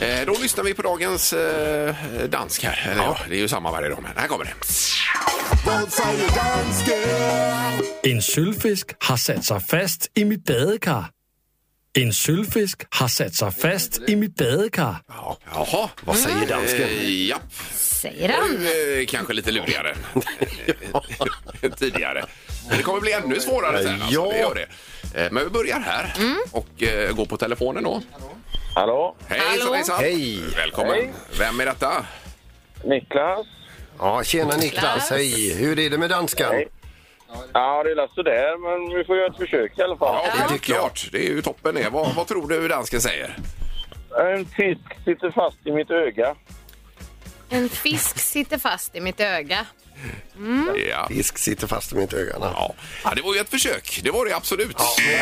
[SPEAKER 4] Eh, Då lyssnar vi på dagens eh, dansk här. Eller, ja, det är ju samma varje dag men här kommer det.
[SPEAKER 10] Vad säger dansken?
[SPEAKER 11] En sølvfisk har sat sig fast i mit badekar. En sølvfisk har sat sig fast i mit badekar.
[SPEAKER 4] Jaha, vad säger dansken? Mm. Eh, Ja,
[SPEAKER 6] Säger han.
[SPEAKER 4] eh, kanske lite lurigare än tidigare. Men det kommer bli ännu svårare sen. Alltså,
[SPEAKER 5] Ja.
[SPEAKER 4] det gör det. Eh, Men vi börjar här och eh, går på telefonen då.
[SPEAKER 1] Hallå?
[SPEAKER 4] Hej, hejsan,
[SPEAKER 6] Hallå.
[SPEAKER 4] hejsan.
[SPEAKER 5] Hej.
[SPEAKER 4] Välkommen. Vem är detta?
[SPEAKER 1] Niklas?
[SPEAKER 5] Ja, tjena Niklas, hej. Hur är det med danskan?
[SPEAKER 1] Hej. Ja, det är la sådär, men vi får göra ett försök i alla fall.
[SPEAKER 4] Ja, det är klart. Det är ju toppen det. Vad, vad tror du dansken säger?
[SPEAKER 1] En fisk sitter fast i mitt öga.
[SPEAKER 6] En fisk sitter fast i mitt öga.
[SPEAKER 4] Ja.
[SPEAKER 5] Fisk sitter fast i mitt öga. Ja.
[SPEAKER 4] Ja. ja, det var ju ett försök. Det var det absolut. Eh,
[SPEAKER 6] Det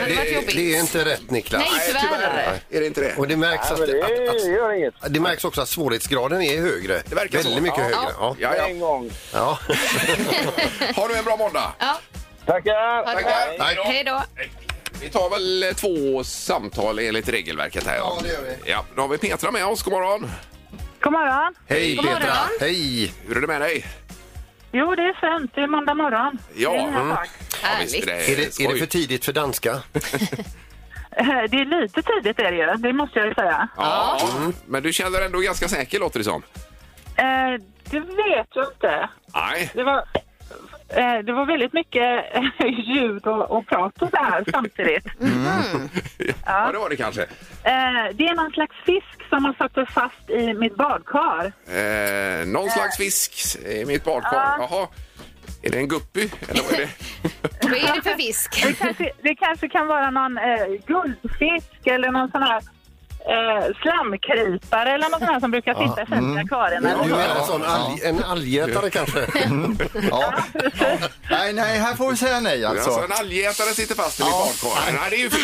[SPEAKER 6] hade varit
[SPEAKER 5] Det,
[SPEAKER 6] jobbigt.
[SPEAKER 5] det är inte rätt Niklas.
[SPEAKER 6] Nej,
[SPEAKER 4] Nej,
[SPEAKER 6] tyvärr.
[SPEAKER 4] Är det inte det?
[SPEAKER 5] Och det märks,
[SPEAKER 1] Nej,
[SPEAKER 5] att,
[SPEAKER 1] men det
[SPEAKER 5] att, att,
[SPEAKER 1] gör inget.
[SPEAKER 5] det märks också att svårighetsgraden är högre.
[SPEAKER 4] Det verkar så.
[SPEAKER 5] Väldigt mycket
[SPEAKER 4] Ja.
[SPEAKER 5] högre. Ja.
[SPEAKER 4] Ja, ja.
[SPEAKER 1] En gång.
[SPEAKER 5] Ja.
[SPEAKER 4] Har du en bra måndag?
[SPEAKER 6] Ja,
[SPEAKER 1] Tackar!
[SPEAKER 6] ha det
[SPEAKER 4] Tackar.
[SPEAKER 6] bra. Hej då.
[SPEAKER 4] Vi tar väl två samtal enligt regelverket här.
[SPEAKER 7] Ja, det gör vi.
[SPEAKER 4] Ja, då har vi Petra med oss. God morgon.
[SPEAKER 8] God morgon.
[SPEAKER 5] Hej
[SPEAKER 6] God
[SPEAKER 5] Petra!
[SPEAKER 6] morgon.
[SPEAKER 5] Hej!
[SPEAKER 4] Hur är det med dig?
[SPEAKER 8] Jo, det är fint. Det är måndag morgon.
[SPEAKER 4] Ja,
[SPEAKER 8] Det är,
[SPEAKER 4] mm.
[SPEAKER 8] mm.
[SPEAKER 4] Ja, visst
[SPEAKER 6] Härligt.
[SPEAKER 5] Är
[SPEAKER 4] det
[SPEAKER 5] det, är det för
[SPEAKER 4] skoj.
[SPEAKER 5] tidigt för danska?
[SPEAKER 8] Eh, det är lite tidigt är det ju. Det måste jag ju säga.
[SPEAKER 4] Ja, Mm. men du känner dig ändå ganska säker låter det som.
[SPEAKER 8] Eh, det vet jag inte.
[SPEAKER 4] Nej.
[SPEAKER 8] Det var, eh, det var väldigt mycket eh, ljud och, och prat och så här samtidigt.
[SPEAKER 4] Mm. Ja, det var det kanske.
[SPEAKER 8] Eh, det är någon slags fisk som har satt sig fast i mitt badkar.
[SPEAKER 4] Eh, någon slags fisk i mitt badkar. Jaha. Är det en guppy? Eller vad är det?
[SPEAKER 6] Vad är det för fisk?
[SPEAKER 8] Det kanske, det kanske kan vara någon eh, guldfisk eller någon sån här eh, slamkrypare eller något sånt här som brukar sitta fint
[SPEAKER 5] mm.
[SPEAKER 8] i akvarierna.
[SPEAKER 5] Du menar en sån alg, en algätare kanske?
[SPEAKER 7] Ja. Nej, nej, här får vi säga nej
[SPEAKER 4] Alltså,
[SPEAKER 7] alltså.
[SPEAKER 4] en algätare sitter fast i mitt badkar. Nej, det är ju fel.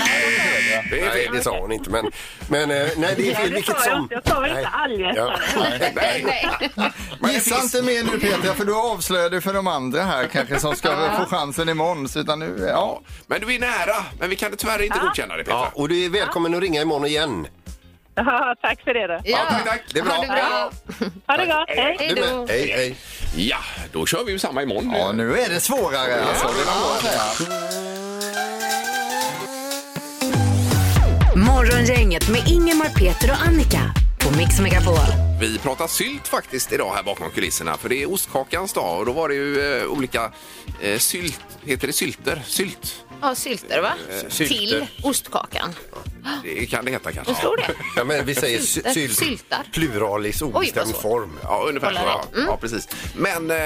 [SPEAKER 4] Det är
[SPEAKER 5] Nej,
[SPEAKER 4] fel.
[SPEAKER 5] det sa hon inte. Men, men eh, nej, det är fel vilket
[SPEAKER 8] sa jag
[SPEAKER 5] som.
[SPEAKER 8] inte. Jag sa väl
[SPEAKER 5] Nej.
[SPEAKER 8] inte algätare?
[SPEAKER 4] Nej.
[SPEAKER 6] Nej.
[SPEAKER 4] Men det
[SPEAKER 7] Gissa
[SPEAKER 4] finns-
[SPEAKER 7] inte mer nu Petra, för du avslöjar du för de andra här kanske som ska få chansen imorgon. Så utan nu, ja.
[SPEAKER 4] Men du är nära. Men vi kan tyvärr inte godkänna det, Petra.
[SPEAKER 5] Ja, och du är välkommen att ringa imorgon igen.
[SPEAKER 8] Ja, tack för det då.
[SPEAKER 4] Ja, tack, tack.
[SPEAKER 5] Det är
[SPEAKER 6] Ha det
[SPEAKER 5] bra.
[SPEAKER 6] bra.
[SPEAKER 8] Ha det gott. Hej.
[SPEAKER 6] Hej
[SPEAKER 5] Du med.
[SPEAKER 6] då.
[SPEAKER 5] Hej, hej.
[SPEAKER 4] Ja, då kör vi ju samma imorgon.
[SPEAKER 7] Ja, nu är det svårare alltså. Det får man säga.
[SPEAKER 3] Morgongänget med Ingemar, Peter och Annika på Mix Megapol.
[SPEAKER 4] Vi pratar sylt faktiskt idag här bakom kulisserna. För det är ostkakans dag och då var det ju eh, olika eh, sylt... Heter det sylter? Sylt? Eh,
[SPEAKER 6] Ja, sylter va?
[SPEAKER 5] sylter.
[SPEAKER 6] Till ostkakan.
[SPEAKER 4] Det kan det heta kanske.
[SPEAKER 6] Vad står det?
[SPEAKER 5] Ja, men vi säger sy-
[SPEAKER 6] Syltar.
[SPEAKER 5] sylt.
[SPEAKER 6] Syltar.
[SPEAKER 5] Pluralis obestämd
[SPEAKER 6] svårt.
[SPEAKER 5] form.
[SPEAKER 4] Ja, ungefär så.
[SPEAKER 6] Kolla
[SPEAKER 4] Ja.
[SPEAKER 6] rätt. Mm.
[SPEAKER 4] ja, precis. Men eh,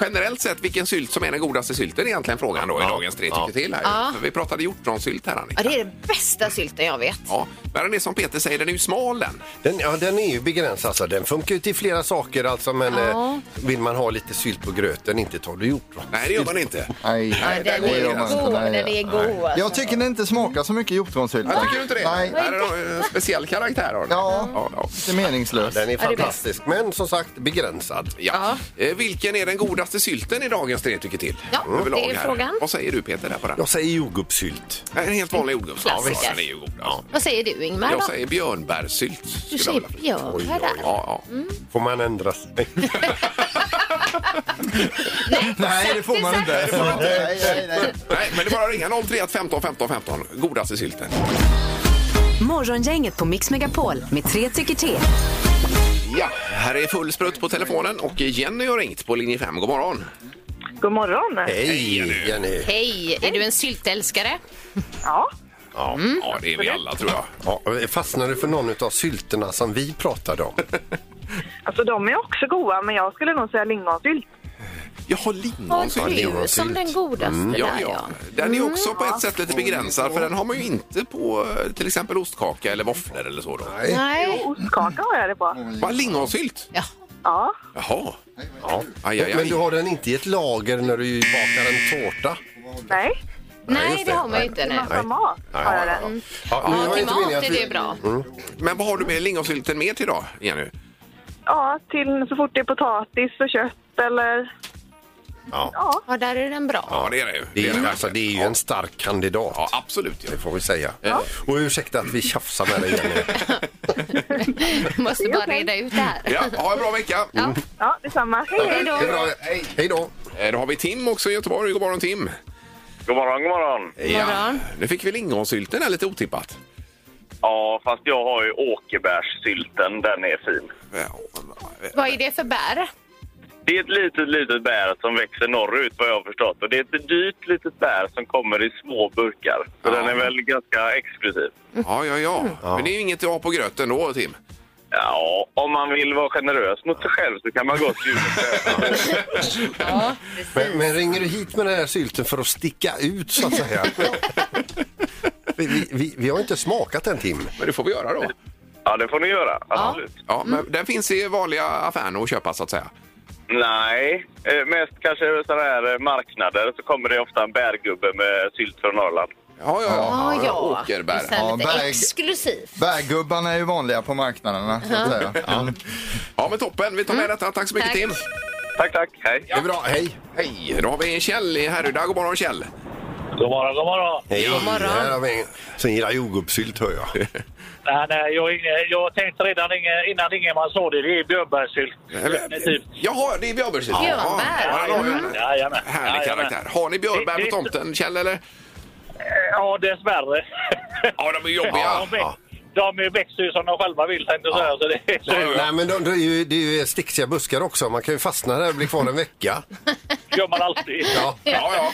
[SPEAKER 4] generellt sett, vilken sylt som är den godaste sylten är egentligen frågan då i dagens tre tycker till. Här.
[SPEAKER 6] Ja.
[SPEAKER 4] För Vi pratade hjortronsylt här, Annika.
[SPEAKER 6] Ja, det är den bästa sylten jag vet.
[SPEAKER 4] Ja, men den är som Peter säger, den är ju smal den.
[SPEAKER 5] Den, ja, den är ju begränsad. Alltså. Den funkar ju till flera saker. Alltså, men
[SPEAKER 6] Ja.
[SPEAKER 5] eh, vill man ha lite sylt på gröten, inte tar du hjortron.
[SPEAKER 4] Nej, det gör man inte.
[SPEAKER 7] Nej,
[SPEAKER 6] Ja, den,
[SPEAKER 4] går
[SPEAKER 6] är
[SPEAKER 4] jag
[SPEAKER 7] gränsen.
[SPEAKER 6] god,
[SPEAKER 7] Nej,
[SPEAKER 6] den är god. Alltså.
[SPEAKER 7] Jag tycker det inte smakar så mycket hjortronsylt.
[SPEAKER 4] Jag tycker du inte det?
[SPEAKER 7] Nej,
[SPEAKER 4] Är det en speciell karaktär? Har den?
[SPEAKER 7] Ja.
[SPEAKER 4] Ja, ja.
[SPEAKER 7] lite meningslöst.
[SPEAKER 5] Den är
[SPEAKER 6] det är
[SPEAKER 5] fantastisk, men som sagt begränsad.
[SPEAKER 4] Ja. Eh, vilken är den godaste sylten i dagens tre tycker till? Mm,
[SPEAKER 6] Ja, det är
[SPEAKER 4] här.
[SPEAKER 6] frågan.
[SPEAKER 4] Vad säger du Peter där på den?
[SPEAKER 5] Jag säger jordgubbssylt.
[SPEAKER 4] En helt vanlig jordgubbssås.
[SPEAKER 6] Klassiker.
[SPEAKER 4] Ja, den är ju god. Ja.
[SPEAKER 6] Vad säger du Ingmar?
[SPEAKER 4] Jag
[SPEAKER 6] då?
[SPEAKER 4] säger björnbärssylt. skulle
[SPEAKER 6] du
[SPEAKER 4] jag
[SPEAKER 6] säger
[SPEAKER 4] vilja.
[SPEAKER 5] Oj,
[SPEAKER 6] björn Mm.
[SPEAKER 5] oj,
[SPEAKER 6] där.
[SPEAKER 5] oj.
[SPEAKER 4] Ja, ja.
[SPEAKER 5] Får man ändra sig?
[SPEAKER 7] Nej, det får man inte. Nej, nej, nej.
[SPEAKER 4] Nej, men det är bara att ringa 031 15 15 15. Godaste sylten.
[SPEAKER 3] Morgongänget på Mix Megapol med tre tycker till.
[SPEAKER 4] Ja, här är full sprutt på telefonen och Jenny har ringt på linje 5. God morgon.
[SPEAKER 8] God morgon.
[SPEAKER 5] Hej Jenny!
[SPEAKER 6] Hej, är du en syltälskare?
[SPEAKER 8] Ja,
[SPEAKER 4] Ja, ja det är vi alla tror jag.
[SPEAKER 5] Ja, fastnar du för någon av sylterna som vi pratade om?
[SPEAKER 8] alltså de är också goda, men jag skulle nog säga lingonsylt.
[SPEAKER 4] Jag har
[SPEAKER 6] Har
[SPEAKER 4] lingonsylt.
[SPEAKER 6] du som den godaste
[SPEAKER 4] Mm, Ja,
[SPEAKER 6] där
[SPEAKER 4] ja.
[SPEAKER 6] ja.
[SPEAKER 4] Den är också på ett sätt lite begränsad för den har man ju inte på eh, till exempel ostkaka eller våfflor eller så. Då.
[SPEAKER 6] Nej.
[SPEAKER 8] Ostkaka har jag det på.
[SPEAKER 4] Bara lingonsylt?
[SPEAKER 6] Ja.
[SPEAKER 8] Ja,
[SPEAKER 4] Jaha. Ja. Aj, aj,
[SPEAKER 5] Men du
[SPEAKER 4] aj.
[SPEAKER 5] har den inte i ett lager när du bakar en tårta?
[SPEAKER 8] nej.
[SPEAKER 5] just
[SPEAKER 6] Nej, det
[SPEAKER 5] det.
[SPEAKER 6] har man ju inte.
[SPEAKER 8] Till
[SPEAKER 6] Nej.
[SPEAKER 8] massa mat har jag det.
[SPEAKER 5] Ja, nu
[SPEAKER 6] Ja,
[SPEAKER 5] var
[SPEAKER 6] till
[SPEAKER 5] inte meningen
[SPEAKER 6] mat
[SPEAKER 5] att
[SPEAKER 6] är
[SPEAKER 5] vi-
[SPEAKER 6] det bra.
[SPEAKER 4] Men vad har du med lingonsylten mer till idag, Jenny?
[SPEAKER 8] Ja, till så fort det är potatis och kött eller...
[SPEAKER 5] Ja.
[SPEAKER 8] Ja,
[SPEAKER 6] Ja, där är den bra.
[SPEAKER 4] Ja, det är det ju.
[SPEAKER 5] Det, är ju,
[SPEAKER 4] verkligen.
[SPEAKER 5] alltså, det är ju en stark kandidat.
[SPEAKER 4] Ja, absolut. Ja.
[SPEAKER 5] Det får vi säga. Och ursäkta att vi tjafsar med dig Jenny.
[SPEAKER 6] Måste bara reda ut det här.
[SPEAKER 4] Ja, ha en bra vecka.
[SPEAKER 8] ja detsamma.
[SPEAKER 6] Hej då.
[SPEAKER 5] Det är bra. Hej. Hej då!
[SPEAKER 4] Eh, Då har vi Tim också i Göteborg. God morgon Tim.
[SPEAKER 1] God morgon, god morgon.
[SPEAKER 6] morgon.
[SPEAKER 4] Nu fick vi lingonsylten här lite otippat.
[SPEAKER 1] Ja, fast jag har ju åkerbärssylten. Den är fin.
[SPEAKER 4] Ja,
[SPEAKER 6] Vad är det för bär?
[SPEAKER 1] Det är ett litet, litet bär som växer norrut vad jag har förstått. Och det är ett dyrt litet bär som kommer i små burkar. Så
[SPEAKER 4] Ja.
[SPEAKER 1] den är väl ganska exklusiv.
[SPEAKER 4] ja, ja. ja. Men det är ju inget att ha på gröten då, Tim.
[SPEAKER 1] Ja, om man vill vara generös mot sig själv så kan man gå till julklapp.
[SPEAKER 5] Men, men ringer du hit med den här sylten för att sticka ut så att säga? vi, vi, vi, vi har inte smakat den Tim.
[SPEAKER 4] Men det får vi göra då.
[SPEAKER 1] Ja, det får ni göra. Absolut.
[SPEAKER 4] Ja, men Den finns i vanliga affärer att köpa så att säga.
[SPEAKER 1] Nej, eh, mest kanske sådana här eh, marknader så kommer det ofta en bärgubbe med sylt från Norrland.
[SPEAKER 4] Ja, ja, ja.
[SPEAKER 6] Ja, ja.
[SPEAKER 4] Åkerbär.
[SPEAKER 6] Och sen
[SPEAKER 7] Ja,
[SPEAKER 6] lite
[SPEAKER 7] berg.
[SPEAKER 6] exklusivt.
[SPEAKER 7] Bärgubbarna är ju vanliga på marknaderna, så att säga.
[SPEAKER 4] Ja, men toppen. Vi tar med detta. Mm. Tack så mycket
[SPEAKER 6] Tack.
[SPEAKER 4] Tim.
[SPEAKER 1] Tack, tack. Hej.
[SPEAKER 5] Det är bra, hej!
[SPEAKER 4] Hej, då har vi Kjell i Härryda. God morgon Kjell.
[SPEAKER 1] God morgon, god morgon.
[SPEAKER 5] Hej!
[SPEAKER 6] God morgon.
[SPEAKER 5] Här har vi en som gillar jordgubbssylt hör jag.
[SPEAKER 1] Nej, nej, jag, jag tänkte redan innan Ingemar sa det, det är björnbärssylt. Typ Definitivt.
[SPEAKER 4] Jaha, det är björnbärssylt.
[SPEAKER 6] Björnbär.
[SPEAKER 4] typ. Ja, den har ju en
[SPEAKER 1] Jajamän.
[SPEAKER 4] härlig karaktär. Har ni björnbär på tomten Kjell eller?
[SPEAKER 1] Ja, dessvärre.
[SPEAKER 4] Ja, de är jobbiga.
[SPEAKER 1] de, väx, de växer ju som de själva vill, tänkte jag säga. Så det är så
[SPEAKER 5] Nej men då, då är ju, det är ju sticksiga buskar också. Man kan ju fastna där och bli kvar en vecka.
[SPEAKER 1] gör man alltid.
[SPEAKER 5] Ja.
[SPEAKER 4] Ja, ja.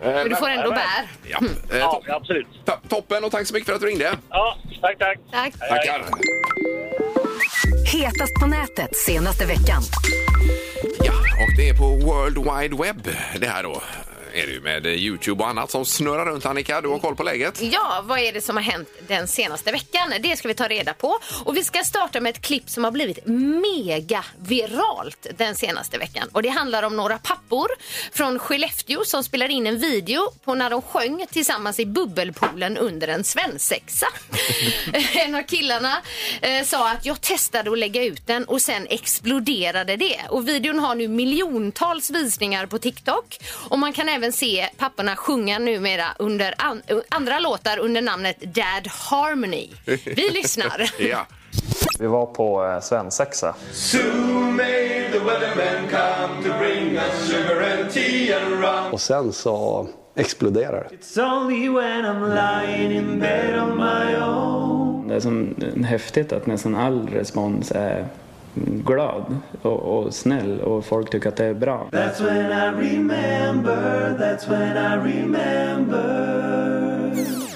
[SPEAKER 6] Men du får ändå bär.
[SPEAKER 4] ja. Eh,
[SPEAKER 1] Ja,
[SPEAKER 4] to-
[SPEAKER 1] absolut.
[SPEAKER 4] to- toppen och tack så mycket för att du ringde.
[SPEAKER 1] Ja, tack, tack.
[SPEAKER 6] Tack.
[SPEAKER 4] Tackar.
[SPEAKER 3] Hetast på nätet senaste veckan.
[SPEAKER 4] Ja, och det är på World Wide Web det här då. Är det ju med eh, Youtube och annat som snurrar runt Annika. Du har koll på läget?
[SPEAKER 6] Ja, vad är det som har hänt den senaste veckan? Det ska vi ta reda på. Och vi ska starta med ett klipp som har blivit mega viralt den senaste veckan. Och det handlar om några pappor från Skellefteå som spelar in en video på när de sjöng tillsammans i bubbelpoolen under en svensexa. en av killarna eh, sa att jag testade att lägga ut den och sen exploderade det. Och videon har nu miljontals visningar på TikTok. Och man kan även se papporna sjunga numera under an- eh, andra låtar under namnet Dad Harmony. Vi lyssnar.
[SPEAKER 4] Ja.
[SPEAKER 1] Vi var på eh, svensexa.
[SPEAKER 10] Och sen så exploderar det.
[SPEAKER 1] Det är som Mm, häftigt att nästan all respons är glad och, och snäll och folk tycker att det är bra.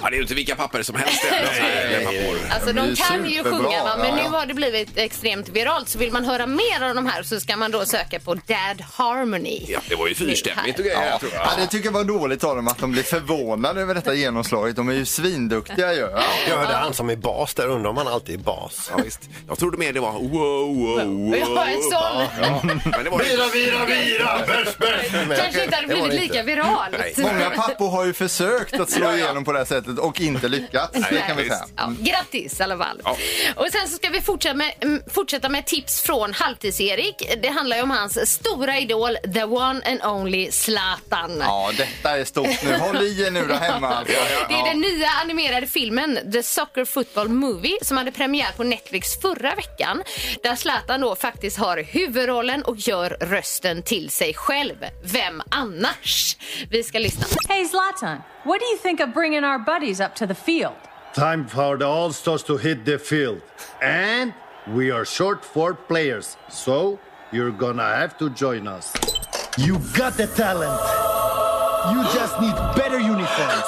[SPEAKER 4] Ja, det är ju inte vilka papper som helst. det är alltså, eh, pappor.
[SPEAKER 6] Alltså
[SPEAKER 7] Det är
[SPEAKER 6] de kan ju
[SPEAKER 7] superbra,
[SPEAKER 6] sjunga va? men
[SPEAKER 7] ja,
[SPEAKER 6] nu
[SPEAKER 7] ja.
[SPEAKER 6] har det blivit extremt viralt så vill man höra mer av de här så ska man då söka på Dad Harmony.
[SPEAKER 4] Ja, det var ju fyrstämmigt och grejer, tror jag.
[SPEAKER 7] Ja, det tycker jag var dåligt av dem att de blev förvånade över detta genomslaget. De är ju svinduktiga ju. Ja.
[SPEAKER 5] Jag hörde han som är bas där, undrar om han alltid är bas.
[SPEAKER 4] Ja, visst. Jag trodde mer det var wow, wow, wow.
[SPEAKER 6] Ja, en sån.
[SPEAKER 4] Ja, Men det var
[SPEAKER 5] Vira, vira, vira! Bärs, bärs! Men
[SPEAKER 6] Kanske inte hade
[SPEAKER 5] det var
[SPEAKER 6] blivit
[SPEAKER 5] det inte.
[SPEAKER 6] lika viralt.
[SPEAKER 4] Nej.
[SPEAKER 7] Många pappor har ju försökt att slå
[SPEAKER 4] Ja, ja.
[SPEAKER 7] igenom på det här sättet och inte lyckats. Det kan vi
[SPEAKER 4] visst.
[SPEAKER 7] säga. Mm.
[SPEAKER 6] Ja, grattis i alla fall.
[SPEAKER 4] Ja.
[SPEAKER 6] Och sen så ska vi fortsätta med, mm, fortsätta med tips från Halvtids-Erik. Det handlar ju om hans stora idol, the one and only Zlatan.
[SPEAKER 7] Ja, detta är stort nu. Håll i er nu där hemma. Alltså.
[SPEAKER 6] Det är den nya animerade filmen The Soccer Football Movie som hade premiär på Netflix förra veckan. Där Zlatan då faktiskt har huvudrollen och gör rösten till sig själv. Vem annars? Vi ska lyssna.
[SPEAKER 8] Hey Zlatan, what do you think of bringing our buddies up to the field?
[SPEAKER 10] Time for the All-Stars to hit the field. And we are short four players, so you're gonna have to join us. You got the talent. You just need better uniforms.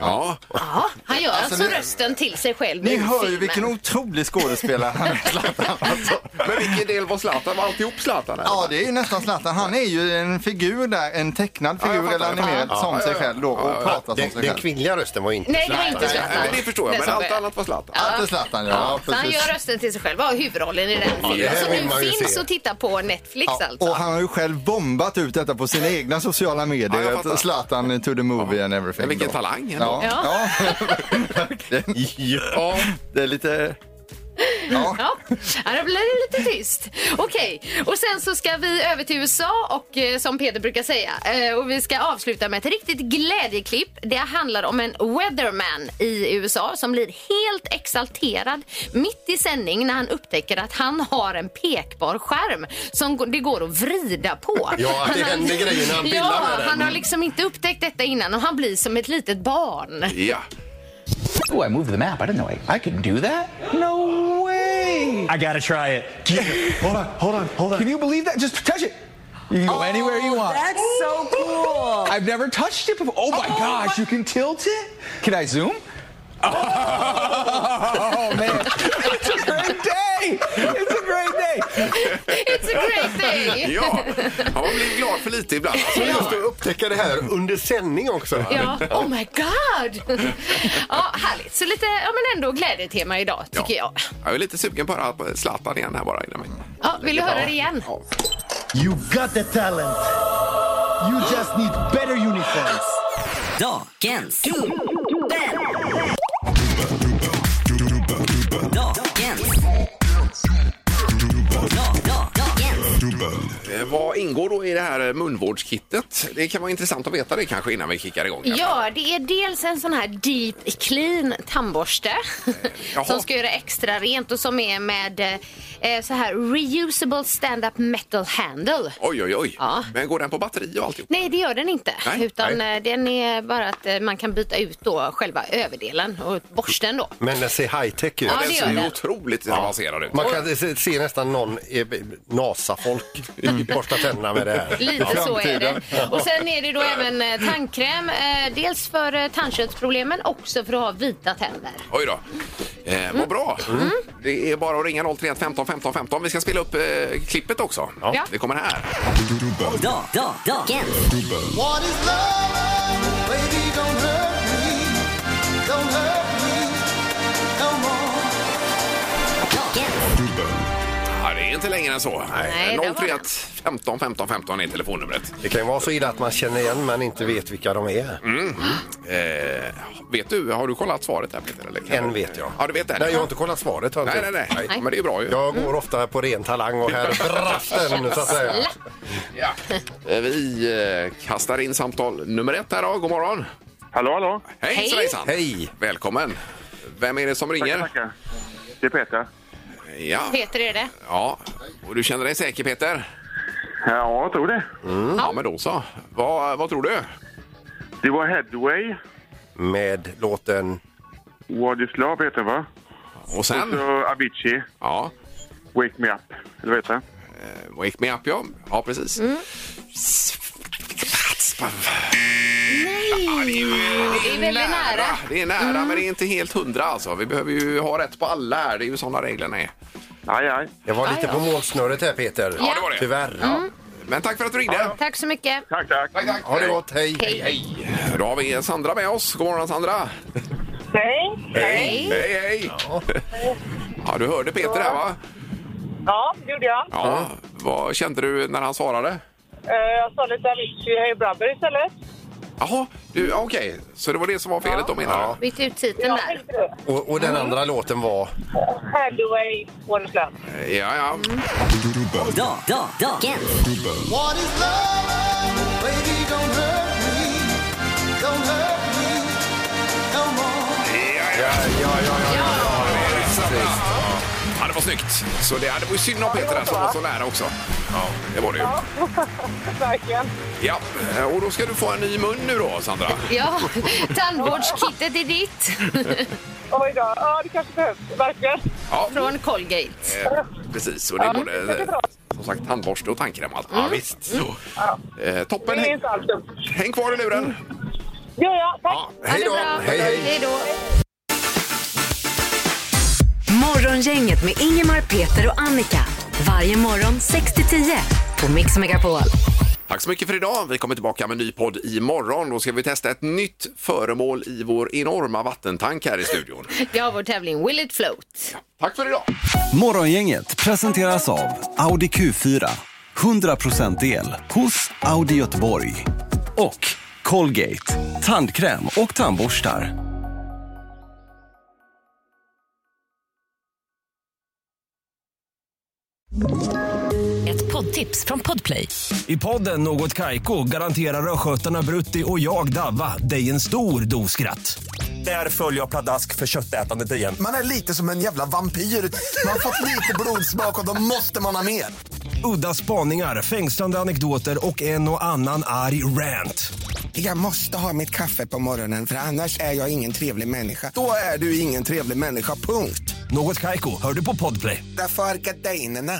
[SPEAKER 4] Ja,
[SPEAKER 6] Ja, han gör alltså,
[SPEAKER 7] ni-
[SPEAKER 6] rösten till sig själv
[SPEAKER 7] Ni
[SPEAKER 6] i
[SPEAKER 7] hör ju
[SPEAKER 6] filmen.
[SPEAKER 7] vilken otrolig skådespelare han är, Zlatan. Alltså.
[SPEAKER 4] men vilken del var Zlatan? Var alltihop Zlatan? eller?
[SPEAKER 7] Ja, det är ju nästan Zlatan. Han är ju en figur där, en tecknad
[SPEAKER 4] Ja, jag
[SPEAKER 7] figur eller
[SPEAKER 4] fattar.
[SPEAKER 7] animerad
[SPEAKER 4] Ja,
[SPEAKER 7] som
[SPEAKER 4] ja,
[SPEAKER 7] sig
[SPEAKER 4] ja.
[SPEAKER 7] själv då och pratar som
[SPEAKER 5] Den,
[SPEAKER 7] sig
[SPEAKER 5] den
[SPEAKER 7] själv.
[SPEAKER 5] kvinnliga rösten var ju inte
[SPEAKER 6] Nej, det var inte
[SPEAKER 4] Nej,
[SPEAKER 6] Zlatan.
[SPEAKER 4] nej, det förstår
[SPEAKER 6] Den
[SPEAKER 4] jag, men
[SPEAKER 6] som
[SPEAKER 4] allt
[SPEAKER 6] börjar.
[SPEAKER 4] annat var Zlatan.
[SPEAKER 7] Allt är Zlatan, ja.
[SPEAKER 6] Ja, så han
[SPEAKER 7] precis.
[SPEAKER 6] gör rösten till sig själv. Vad har huvudrollen i den
[SPEAKER 5] det
[SPEAKER 6] filmen?
[SPEAKER 5] här
[SPEAKER 6] Som
[SPEAKER 5] vill man
[SPEAKER 6] nu
[SPEAKER 5] ju
[SPEAKER 6] finns
[SPEAKER 5] se.
[SPEAKER 6] att titta på Netflix
[SPEAKER 7] Ja,
[SPEAKER 6] alltså.
[SPEAKER 7] och han har ju själv bombat ut detta på sina egna sociala
[SPEAKER 4] Ja,
[SPEAKER 7] medier.
[SPEAKER 4] jag fattar.
[SPEAKER 7] att Zlatan to the movie and everything.
[SPEAKER 4] Men vilken
[SPEAKER 7] då.
[SPEAKER 4] talang ändå.
[SPEAKER 7] Ja, ja. verkligen.
[SPEAKER 5] Ja.
[SPEAKER 7] Det är lite... Ja.
[SPEAKER 6] Ja, ja, då blir det lite tyst. Okej, och sen så ska vi över till USA och eh, som Peter brukar säga. eh, Och vi ska avsluta med ett riktigt glädjeklipp. Det handlar om en weatherman i USA som blir helt exalterad mitt i sändning när han upptäcker att han har en pekbar skärm som g- det går att vrida på.
[SPEAKER 5] Ja, det
[SPEAKER 6] har-
[SPEAKER 5] händer grejer när han pillar
[SPEAKER 6] ja,
[SPEAKER 5] med den.
[SPEAKER 6] Han har liksom inte upptäckt detta innan och han blir som ett litet barn.
[SPEAKER 4] Ja.
[SPEAKER 10] Oh, I moved the map. I didn't know I, I could do that. No way. I gotta try it. hold on, hold on, hold on. Can you believe that? Just touch it. You can go anywhere you want. That's so cool. I've never touched it before. Oh my gosh, you can tilt it. Can I zoom? Oh man, it's a great day. It's a great day.
[SPEAKER 6] It's a great day!
[SPEAKER 4] Ja, ja, man blir glad för lite ibland. Alltså,
[SPEAKER 5] Just att upptäcka det här under sändning också.
[SPEAKER 6] Ja, oh my god! ja, härligt. Så lite, ja men ändå glädjetema idag tycker
[SPEAKER 4] Ja.
[SPEAKER 6] jag.
[SPEAKER 4] Jag är lite sugen på att höra på Zlatan igen här bara innan mig.
[SPEAKER 6] Ja, vill du höra det igen?
[SPEAKER 4] Ja.
[SPEAKER 10] You got the talent. You just need better uniforms.
[SPEAKER 3] Dagens dubbel. Dagens. Dagens.
[SPEAKER 4] Eh, Vad ingår då i det här munvårdskittet? Det kan vara intressant att veta det kanske innan vi kickar igång. här.
[SPEAKER 6] Ja, det är dels en sån här deep clean tandborste
[SPEAKER 4] jaha.
[SPEAKER 6] som ska göra extra rent och som är med eh, så här reusable stand-up metal handle.
[SPEAKER 4] Oj, oj, oj.
[SPEAKER 6] Ja.
[SPEAKER 4] Men går den på batteri och alltihop?
[SPEAKER 6] Nej, det gör den inte.
[SPEAKER 4] Nej,
[SPEAKER 6] utan eh, den är bara att eh, man kan byta ut då själva överdelen och borsten då.
[SPEAKER 5] Men den ser high-tech ut.
[SPEAKER 6] Ja,
[SPEAKER 4] den
[SPEAKER 6] det
[SPEAKER 4] ser
[SPEAKER 6] gör
[SPEAKER 4] ju
[SPEAKER 6] den.
[SPEAKER 4] Alltså, otroligt avancerad ut.
[SPEAKER 5] Man kan se, se nästan någon eh, NASA-folk borsta tänderna med det här.
[SPEAKER 6] Mm. Lite så är det.
[SPEAKER 7] Framtiden.
[SPEAKER 6] Och sen är det då även eh, tandkräm. eh, Dels för eh, tandköttsproblemen, också för att ha vita tänder.
[SPEAKER 4] Oj då. Eh,
[SPEAKER 6] Mm.
[SPEAKER 4] vad bra. Det är bara att ringa 031 15 15 15. Vi ska spela upp eh, klippet också.
[SPEAKER 6] Ja.
[SPEAKER 4] Det kommer här.
[SPEAKER 3] Dagens.
[SPEAKER 7] What is love? Baby, don't hurt me. Don't hurt me. No more.
[SPEAKER 3] Dagens.
[SPEAKER 4] Ja, det är inte längre än så.
[SPEAKER 6] Nej, det var
[SPEAKER 4] 031 15 15 15 är telefonnumret.
[SPEAKER 5] Det kan ju vara så illa att man känner igen men inte vet vilka de är.
[SPEAKER 4] Eh, vet du, har du kollat svaret här Peter? Eller? kan
[SPEAKER 5] En
[SPEAKER 4] du-
[SPEAKER 5] vet jag.
[SPEAKER 4] Ja, du vet en.
[SPEAKER 5] Nej, jag har inte kollat svaret. Har jag
[SPEAKER 4] nej,
[SPEAKER 5] inte.
[SPEAKER 4] nej, nej, Men det är bra ju.
[SPEAKER 5] Jag går ofta på ren talang och här brast den så att säga.
[SPEAKER 4] Ja. Eh, Vi eh, kastar in samtal nummer ett här då. God morgon.
[SPEAKER 10] Hallå, hallå.
[SPEAKER 4] Hej,
[SPEAKER 6] Hej.
[SPEAKER 4] svejsan.
[SPEAKER 5] Hej!
[SPEAKER 4] Välkommen. Vem är det som ringer?
[SPEAKER 10] Det är Peter.
[SPEAKER 4] Ja.
[SPEAKER 6] Peter är det.
[SPEAKER 4] ja. Och du känner dig säker Peter?
[SPEAKER 10] Ja, jag tror det.
[SPEAKER 6] Mm.
[SPEAKER 4] Ja, men då så. Vad, vad tror du?
[SPEAKER 10] Det var Headway.
[SPEAKER 5] Med låten...
[SPEAKER 10] Wadislav heter den, va?
[SPEAKER 4] Och sen?
[SPEAKER 10] Så Avicii,
[SPEAKER 4] Ja,
[SPEAKER 10] Wake Me Up. Eller vad heter den?
[SPEAKER 4] Wake
[SPEAKER 6] Mm.
[SPEAKER 4] Me Up ja. Ja, precis.
[SPEAKER 6] Nej, Det är väldigt nära. Mm.
[SPEAKER 4] Det är nära, men det är inte helt hundra alltså. Vi behöver ju ha rätt på alla här. Det är ju sådana reglerna är.
[SPEAKER 12] Aj, aj.
[SPEAKER 5] Jag var lite
[SPEAKER 6] Aj
[SPEAKER 5] på målsnöret här Peter.
[SPEAKER 6] Ja, Mm. det var
[SPEAKER 4] det.
[SPEAKER 5] Tyvärr.
[SPEAKER 4] Men tack för att du ringde.
[SPEAKER 6] Tack så mycket.
[SPEAKER 12] Tack, tack.
[SPEAKER 4] Tack, tack.
[SPEAKER 5] Ha det gott, hej.
[SPEAKER 6] Hej.
[SPEAKER 4] Hej. Då har vi Sandra med oss. God morgon Sandra.
[SPEAKER 8] Nej.
[SPEAKER 4] Hej. Hej, hej. Ja. du hörde Peter där va?
[SPEAKER 8] Ja, det gjorde jag.
[SPEAKER 4] Ja. Vad kände du när han svarade?
[SPEAKER 8] Eh, Jag sa lite Avicii Hey Brother istället.
[SPEAKER 4] Jaha, du, okej. Så det var det som var felet då menar du?
[SPEAKER 6] Byt ut titeln
[SPEAKER 8] Jag
[SPEAKER 6] där.
[SPEAKER 8] tänkte det.
[SPEAKER 5] Och, och
[SPEAKER 6] Mm.
[SPEAKER 5] den andra låten var?
[SPEAKER 8] Hathaway Wonderland.
[SPEAKER 4] Ja, ja. Ja, det var snyggt. Så det, ja, det var ju synd om Peter där som var så nära också. Ja, det var det ju.
[SPEAKER 8] Verkligen.
[SPEAKER 4] Ja, och då ska du få en ny mun nu då, Sandra.
[SPEAKER 6] Ja, tandvårdskittet är ditt.
[SPEAKER 8] Oj då. Ja, det kanske behövs. Verkligen.
[SPEAKER 4] Ja,
[SPEAKER 6] Från Colgate.
[SPEAKER 4] eh, precis. Och det är
[SPEAKER 8] Ja,
[SPEAKER 4] både
[SPEAKER 8] det är
[SPEAKER 4] eh,
[SPEAKER 8] bra.
[SPEAKER 4] som
[SPEAKER 8] Mm.
[SPEAKER 4] sagt tandborste och tandkräm och allt. Ja, visst. Så. Eh,
[SPEAKER 8] Det
[SPEAKER 4] toppen.
[SPEAKER 8] är
[SPEAKER 4] Häng,
[SPEAKER 8] inte Mm. alls dumt.
[SPEAKER 4] häng kvar i luren.
[SPEAKER 8] Ja, ja. Tack.
[SPEAKER 4] Ja, hej då.
[SPEAKER 5] Hej, hej.
[SPEAKER 6] Hej då.
[SPEAKER 3] Morgongänget med Ingemar, Peter och Annika. Varje morgon 6 till 10 på Mix Megapol.
[SPEAKER 4] Tack så mycket för idag. Vi kommer tillbaka med en ny podd imorgon. Då ska vi testa ett nytt föremål i vår enorma vattentank här i studion.
[SPEAKER 6] Vi har vår tävling Will it float?
[SPEAKER 4] Tack för idag.
[SPEAKER 10] Morgongänget presenteras av Audi Q4. 100% el hos Audi Göteborg. Och Colgate. Tandkräm och tandborstar.
[SPEAKER 3] Ett poddtips från Podplay.
[SPEAKER 10] I podden Något Kaiko garanterar östgötarna Brutti och jag, Davva, dig en stor dos skratt. Där följer jag pladask för köttätandet igen.
[SPEAKER 13] Man är lite som en jävla vampyr. Man har fått lite blodsmak och då måste man ha mer.
[SPEAKER 10] Udda spaningar, fängslande anekdoter och en och annan arg rant.
[SPEAKER 13] Jag måste ha mitt kaffe på morgonen för annars är jag ingen trevlig människa. Då är du ingen trevlig människa, punkt.
[SPEAKER 10] Något Kaiko, hör du på Podplay.
[SPEAKER 13] Därför arkadeinerna.